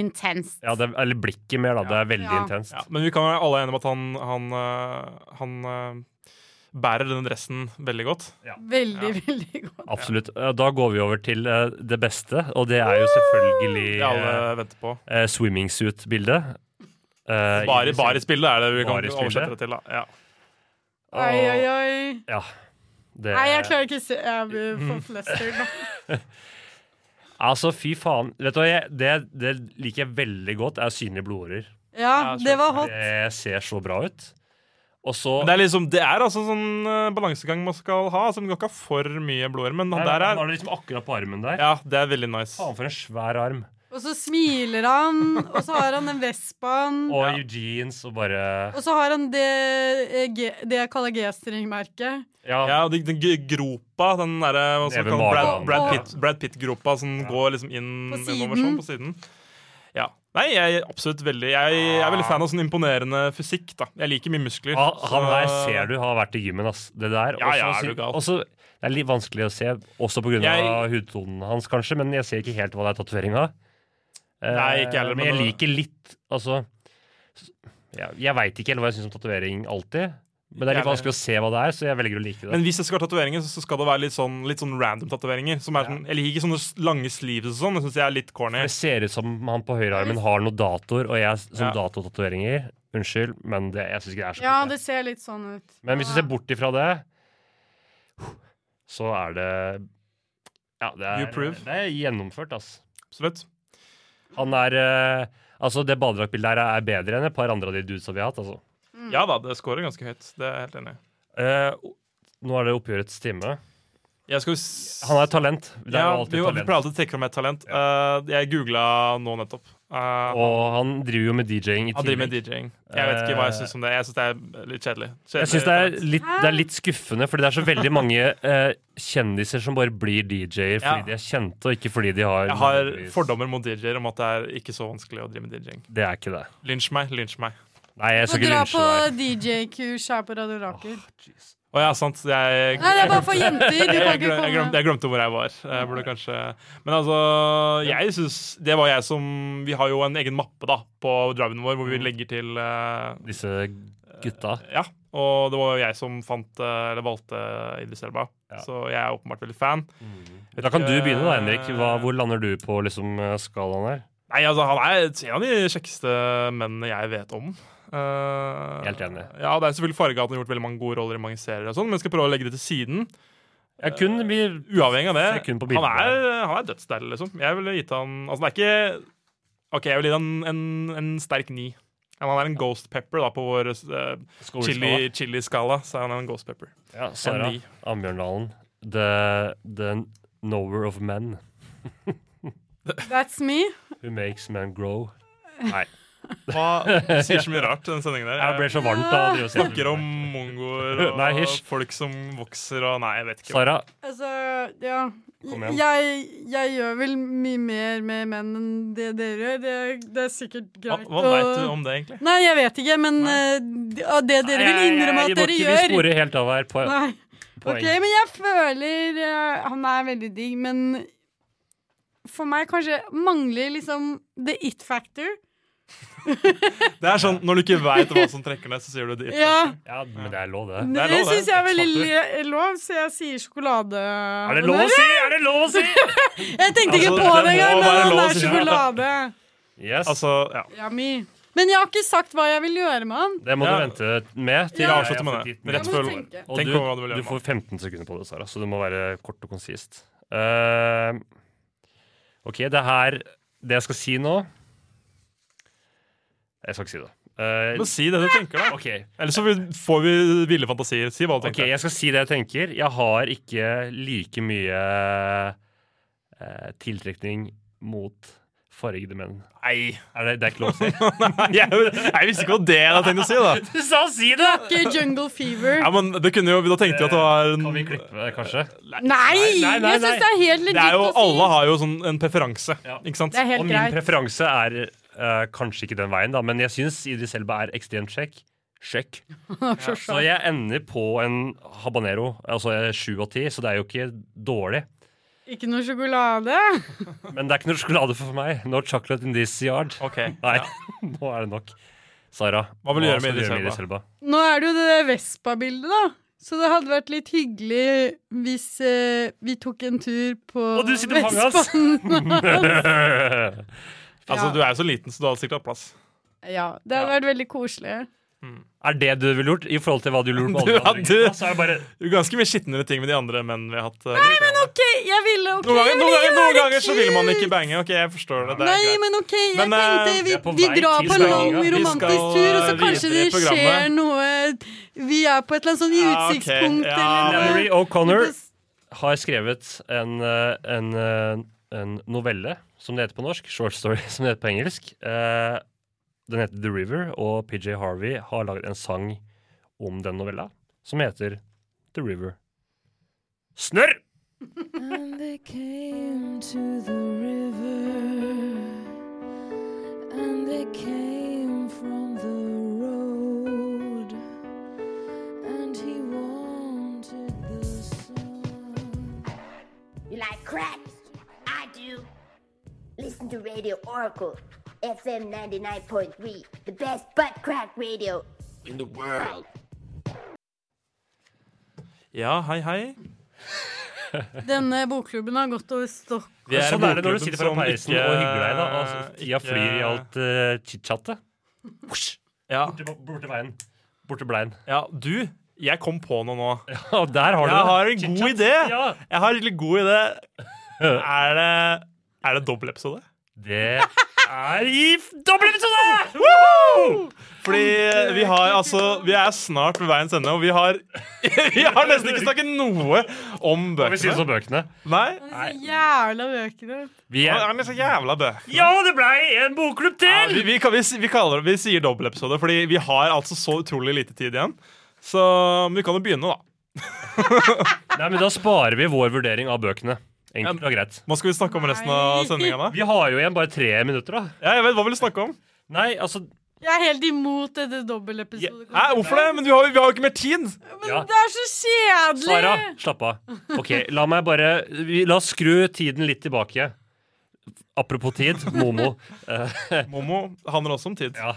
Intenst. ja, det er, eller blikket mer, da. Det er veldig Ja. intenst. ja, men vi kan være alle enige om at han, han, eh, han eh, bærer denne dressen veldig godt. Veldig, veldig godt. Absolutt. Eh, Da går vi over til eh, det beste, og det er jo selvfølgelig Det alle venter på. eh, eh, swimmingssuit-bildet. Eh, Bare, Idris- barisbildet er det vi kan Barisbildet? oversette det til. da. Ja. Oi, oi, oi. Ja. Det, Mm. Nei, jeg klarer ikke å se Jeg blir for flustered nå. Altså, fy faen. Vet du hva, jeg, det, det liker jeg veldig godt, er synlige blodårer. Ja, Ja, det var hot. Det ser så bra ut. Og så Men det er liksom, det er altså sånn eh, balansegang man skal ha. Altså, man kan ikke ha for mye blodårer, men Nei, han der Han er har det liksom akkurat på armen der. Ja, det er veldig nice. Faen, for en svær arm. Og så smiler han, og så har han den vespaen. Og Eugenes og bare Og så har han det, eh, G- det jeg kaller G-string-merket. Ja. Ja, og de- den g- gropa, den derre hva skal man Nede kalle magen. Brad, Brad Pitt- Brad Pitt-gropa som går liksom inn På siden. innover sånn på siden. Ja. Nei, jeg er absolutt veldig Jeg, jeg er veldig fan av sånn imponerende fysikk, da. Jeg liker mye muskler. Han, Ah. han her ser du har vært i gymmen, ass. Det der. Ja, ja, Også- er du gal. også, det er litt vanskelig å se, også pga. Jeg- hudtonen hans, kanskje, men jeg ser ikke helt hva det er tatovering av. Eh, Nei, ikke heller, men men jeg det- liker litt, altså s- Jeg, jeg veit ikke helt hva jeg syns om tatovering alltid. Men det Jeg- er litt vanskelig å se hva det er, så jeg velger å like det. Men hvis jeg skal ha tatoveringer, så skal det være litt sånn, litt sånn random tatoveringer. Som er sånn, Jeg liker ikke sånne s- lange sleeves og sånn. Det syns jeg er litt corny. Det ser ut som han på høyrearmen har noen datoer, og jeg Ja. som datotatoveringer Unnskyld, men det, jeg syns ikke det er så Ja, kult, jeg. det ser litt sånn ut. Men hvis du ser bort ifra det, så er det Ja, det You er, prove. det er gjennomført, ass. Absolutt. Han er eh, Altså, det badedraktbildet her er bedre enn et par andre av de dudesa vi har hatt, altså. Ja da, det scorer ganske høyt. Det er jeg helt enig i. Eh, o- nå er det oppgjørets time. Jeg skal jo s- Han er talent. Det er ja, jo vi, alltid vi talent. pleier alltid å trekke fram et talent. Eh, jeg googla nå nettopp. Eh, Og han driver jo med DJ-ing i han driver med DJ-ing. tillegg. Jeg vet ikke hva jeg syns om det. Jeg syns det er litt kjedelig. Jeg syns det, er litt- det er litt skuffende, fordi det er så veldig mange eh, kjendiser som bare blir DJ-er fordi Ja. de er kjente, og ikke fordi de har Jeg har fordommer mot DJ-er om at det er ikke så vanskelig å drive med DJ-ing. Det er ikke det. Lynsj meg, lynsj meg. Nei, jeg Få skal ikke dra lynsje deg. på DJ-kurs her på Radio Rakel. Å ja, sant. Jeg, Nei, det er bare for jenter. Du kan jeg, ikke glem, jeg, glemte, komme. jeg glemte hvor jeg var. Jeg burde kanskje Men altså, jeg synes Det var jeg som Vi har jo en egen mappe da på driven vår hvor vi legger til eh, Disse gutta. Ja. Og det var jo jeg som fant eh, Eller valgte Idris Elba. Ja. Så jeg er åpenbart veldig fan. Da kan du begynne da, Henrik. eh, Hva, hvor lander du på liksom, eh, skalaen her? Nei, altså, han er en av de kjekkeste mennene jeg vet om. Eh, Helt enig. Ja, Det er selvfølgelig farge at han har gjort veldig mange gode roller i mange serier, og sånn, men jeg skal prøve å legge det til siden. Jeg kun vi Uavhengig av det. Se kun på han, bildene er, han er dødsdeilig, liksom. Jeg ville gitt han Altså, det er ikke OK, jeg ville gitt han en, en sterk ni. Men han er en ghost pepper da, på vår eh, Skåleskala. chili- chili-skala. så er han en ghost pepper. Ja, Sara ni. Ambjørndalen. The, the knower of men. That's me. Who makes men grow. Hva sier så mye rart, den sendingen der. Jeg ble så varmt av å drive og se snakker om mongoer og Nei, hysj. folk som vokser og Nei, jeg vet ikke. Sara, Altså, ja. Kom igjen. Jeg, jeg gjør vel mye mer med menn enn det dere gjør. Det, er- det er sikkert Hva, greit. hva å- veit du om det, egentlig? Nei, jeg vet ikke, men eh, d- av det dere vil innrømme at dere Vi gjør sporer helt av her. På, Nei. poeng. Ok, men jeg føler eh, Han er veldig digg, men for meg kanskje mangler liksom the it factor. Det er sånn når du ikke veit hva som trekker ned, så sier du det. Ja, Ja, men det er lov, det. det er lov, det. syns jeg er veldig X-faktor. le- lov, så jeg sier sjokolade. Er det lov å si?! Er det lov å si?! Jeg tenkte ikke Altså, på det det engang, må men være han lov å er si sjokolade. Yes. Altså, ja. Yummy. Men jeg har ikke sagt hva jeg vil gjøre med han. det må Ja. du vente med til Vi Ja. avslutter med det. Jeg Rett må før tenke. Og Tenk du, over hva du vil gjøre du med får 15 sekunder på det, Sara, så det må være kort og konsist. Eh, OK, det her Det jeg skal si nå Jeg skal ikke si det. Eh, Men si det du tenker, da. OK, Eller så vi- får vi ville fantasier. Si hva du Ok, tenker. jeg skal si det jeg tenker. Jeg har ikke like mye eh, tiltrekning mot fargede menn. Nei. Er det, det er ikke lov å si. jeg, jeg visste ikke hva det jeg hadde tenkt å si. Da Du sa si det! Ikke Jungle Fever. Ja, men det kunne jo, da tenkte vi at det var en, Kan vi klippe det, kanskje? Nei! nei, nei, Jeg nei. syns det er helt Det er legit jo, å Alle si. har jo sånn en preferanse, Ja. ikke sant? Det er Og helt min greit. preferanse er eh, kanskje ikke den veien, da, men jeg syns Idris Elba er ekstremt kjekk. Sjekk. Så jeg ender på en habanero, altså eh, sju av ti, så det er jo ikke dårlig. Ikke noe sjokolade. Men det er ikke noe sjokolade for meg. No chocolate in this yard. Ok, Nei, nå er det nok. Sara, Hva vil du gjøre med skal Idris Elba? Elba? Nå er det jo det der Vespa-bildet, da. Så det hadde vært litt hyggelig hvis eh, vi tok en tur på Og du sitter på fanget hans! altså Ja. Du er jo så liten, så du hadde sikkert hatt plass. Ja, det hadde vært veldig koselig. Er det du ville gjort, i forhold til hva du ville gjort med Du, alle ja, andre du. gutta? Så er det bare Det er jo Ganske mye skitnere ting med de andre mennene vi har hatt. Nei, men OK, jeg ville OK. noen ganger, jeg noen ville ganger, noen gjøre ganger så vil man kult. ikke bange. Ok, jeg forstår det. det er Nei, greit. men OK, jeg Men, eh, tenkte vi vi, er på vi vei drar til på en lang Stavanger. Vi romantisk skal, tur, og så eh, kanskje videre det i skjer programmet. noe Vi er på et eller annet Ja, sånn ok, utsiktspunkt ja, eller Larry noe. O'Connor har skrevet en, eh, en, eh, en novelle, som det heter på norsk, short story, som det heter på engelsk. Eh, Den heter The River, og PJ Harvey har laget en sang om den novella, som heter The River. Snørr! And they came to the river, and they came from the road, and he wanted the sun. You like crack? I do. Listen to Radio Oracle. FM 99.3, the best butt crack radio. In the world. Ja, hei, hei. Denne bokklubben har gått over stokk. Vi er sånn er det når bokklubben du sitter foran som peisen ikke- og hygger deg. da altså, Tida ikke- flyr i alt uh, chit-chatet. Ja, Borte veien. Borte bleien. ja, du, jeg kom på noe nå. Ja, der har Jeg du det. har en Chit-chat. god idé! Ja. Jeg har en litt god idé. Er det, er det dobbeltepisode? Det er i dobbel episode! Fordi vi har altså Vi er snart ved veiens ende, og vi har Vi har nesten ikke snakket noe om Hva synes bøkene. om bøkene? Nei? Så jævla bøkene. Vi Det er er så jævla bøk. Ja, det blei en bokklubb Ja, til! vi, vi, kan- vi, s- vi, kaller, det- vi sier dobbeltepisode, fordi vi har altså så utrolig lite tid igjen. Så men vi kan jo begynne, da. Nei, men Da sparer vi vår vurdering av bøkene. Enkelt og greit. Hva skal vi snakke om resten av Nei. sendinga? da? Vi har jo igjen bare tre minutter, da. Ja, jeg vet, Hva vil du snakke om? Nei, altså Jeg er helt imot dette Ja. dobbeltepisodet. Hæ, hvorfor det? Men vi har, jo- vi har jo ikke mer tid! ja. Det er så kjedelig! Sara, slapp av. Ok, La meg bare vi, La oss skru tiden litt tilbake. Apropos tid, Momo. Momo handler også om tid. Ja.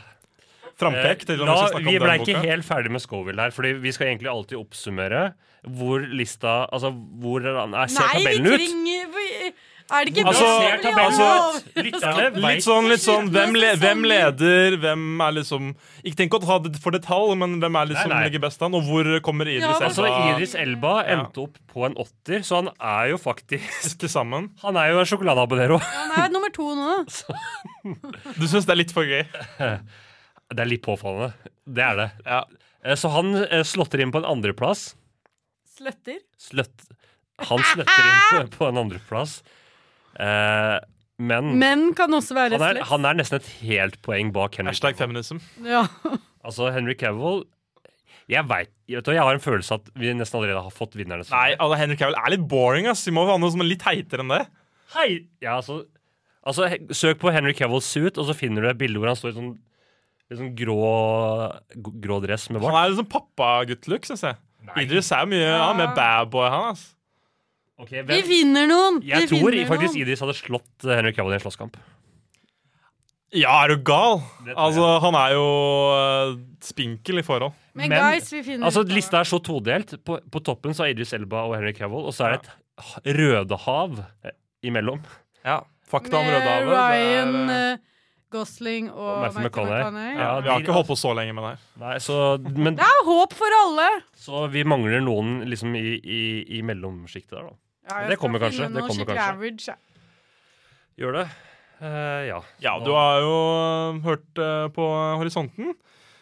Frampek til om Eh, La, vi skal snakke vi om ble den ikke boka. helt ferdig med Scoville her, Fordi vi skal egentlig alltid oppsummere hvor lista Altså, hvor Nei, ser Nei, vi tabellen ut? trenger vi- Er det ikke Altså, bra? ser tabellen Altså, ut? Lytterne Litt vet sånn, litt sånn hvem, le, Skytende hvem sesonger. leder, hvem er liksom Ikke tenk å ta det for detalj, men hvem er liksom Nei, nei. ligger best an, og hvor kommer Idris Ja, men- Altså, Elba Iris Elba endte opp på en åtter, så han er jo faktisk til sammen? Han er jo en sjokoladeabonner òg. Han er nummer to nå. Du syns det er litt for gøy? Det er litt påfallende. Det er det. Ja. Eh, Så han eh, slåtter inn på en andreplass. Sløtter. Sløtt... Han sløtter inn på en andreplass. Eh, men Menn kan også være han er, slett. han er nesten et helt poeng bak Henry. Hashtag feminism. Ja. Altså, Henry Cavill Jeg vet, vet du, hva, jeg har en følelse at vi nesten allerede har fått vinnerne. Nei, alle Henry Cavill er litt boring, ass. Vi må ha noe som er litt heitere enn det. Hei! Ja, altså, altså he- Søk på Henry Cavill suit, og så finner du et bilde hvor han står i sånn, i sånn grå, grå dress med Han bart. er liksom pappagutt-look, syns jeg. Idris er mye ja, mer badboy, han, ass. Ok, Vi hvem? finner noen. Vi Jeg tror finner faktisk noen. Idris hadde slått eh, Henry Cavill i en slåsskamp. Ja, er du gal? Det tror jeg. Altså, han er jo eh, spinkel i forhold. Men Men- guys, vi finner Altså, ut av det. Lista er så todelt. På, på toppen så er Idris Elba og Henry Cavill, og så er det et ha- rødehav eh, imellom. Ja. Fakta om Med Rødehavet. Ryan det er, eh, eh, Gosling og, Matthew McConaughey. ja, Ja, vi har de- ikke holdt på så lenge med det her. Nei, så, men, Det er håp for alle! så vi mangler noen liksom i, i, i mellomsjiktet der, da. Ja, Det jeg skal kommer kanskje, finne det noe kommer skikkelig kanskje. average, jeg. Gjør det? Eh, ja. Ja, du har jo eh, hørt eh, på Horisonten.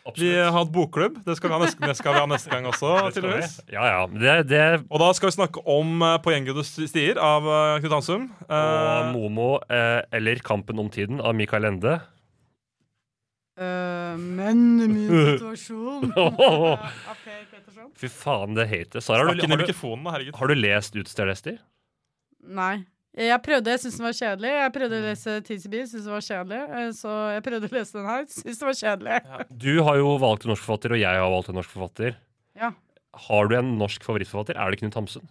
Vi Absolutt. har hatt bokklubb. Det skal vi ha neste, det skal vi ha neste gang også. Det skal tydeligvis. vi. Ja, ja. Det, det Og da skal vi snakke om eh, På gjengudde stier av eh, Knut Hansum. og Eh, Momo eh, eller Kampen om tiden av Mikael Ende. Øh, men min situasjon Åh, Ja, Per Petterson? Fy faen, det hatet. Sara, har Snakk du, inn i har, du, mikrofonen, da, herregud. har du lest Utsteder Ester? Nei. Jeg prøvde, jeg syntes den var kjedelig. Jeg prøvde å lese Tids i bil, syntes den var kjedelig. Eh, Så jeg prøvde å lese den her, syntes den var kjedelig. Du har jo valgt en norsk forfatter, og jeg har valgt en norsk forfatter. Ja. Har du en norsk favorittforfatter? Er det Knut Hamsun?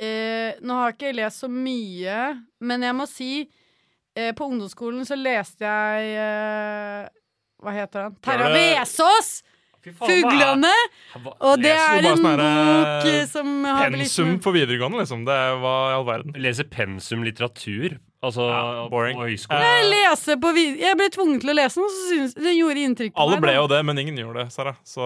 Eh, nå har jeg ikke lest så mye, men jeg må si eh, På ungdomsskolen så leste jeg eh, Hva heter han? Terra Gjør det- Vesaas! 'Fuglene'! Og det leser er du bare en sånn her, bok eh, eh, som har blitt Pensum for videregående, liksom. Det var i all verden. Leser pensum litteratur. Altså Ja, boring. på høyskolen. Jeg Eh, lese på vid Jeg ble tvunget til å lese den, og så syns det gjorde inntrykk på alle meg. ble da. jo det, men ingen gjorde det, Sara. Så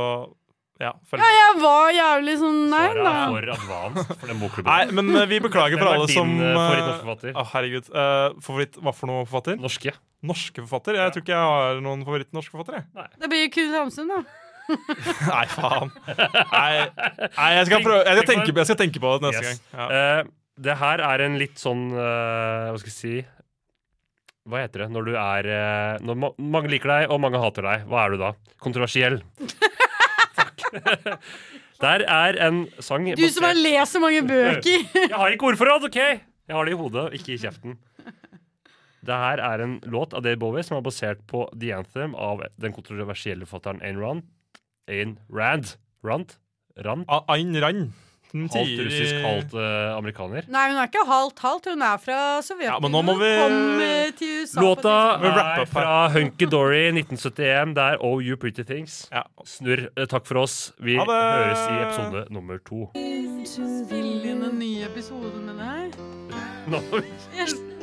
ja, følg Ja, med. jeg var jævlig sånn Nei, Sara da. er for advanced for den bokklubben. Nei, men eh, vi beklager Hvem for er alle din, som eh, eh, favorittnorskforfatter? Å, herregud. Eh, favoritt hva for noe forfatter? Norske. Norske forfatter? Jeg tror ikke jeg har noen favorittnorske forfattere. jeg. Det blir jo Knut Hamsun, da. Nei, faen. Nei, Nei jeg, skal prøve, jeg, skal tenke, på- jeg skal tenke på det neste Yes. gang. Ja. Eh, det her er en litt sånn eh, Hva skal jeg si Hva heter det når du er eh, Når ma mange liker deg, og mange hater deg. Hva er du da? Kontroversiell. Takk. Der er en sang Du som har lest så mange bøker. Jeg har ikke ordforråd, OK? Jeg har det i hodet, ikke i kjeften. Det her er en låt av Dave Bowie som er basert på The Anthem av den kontroversielle forfatteren Ayn Rand. Ayn Rand. Rand? Rand? A- Ayn Rand. liten Halvt tier i- russisk, halvt eh, amerikaner. Nei, hun er ikke halvt halvt. Hun er fra Ja, men nå må Sovjetunionen. vi- Kom eh, til USA på Låta Vi wrap er up her. fra Hunky Dory 1971. Det er Oh You Pretty Things. Ja. Snurr. eh, Takk for oss. Vi Ha det! høres i episode nummer to. tidssofaen. Spille inn en ny episode med det her. Nå, Jeg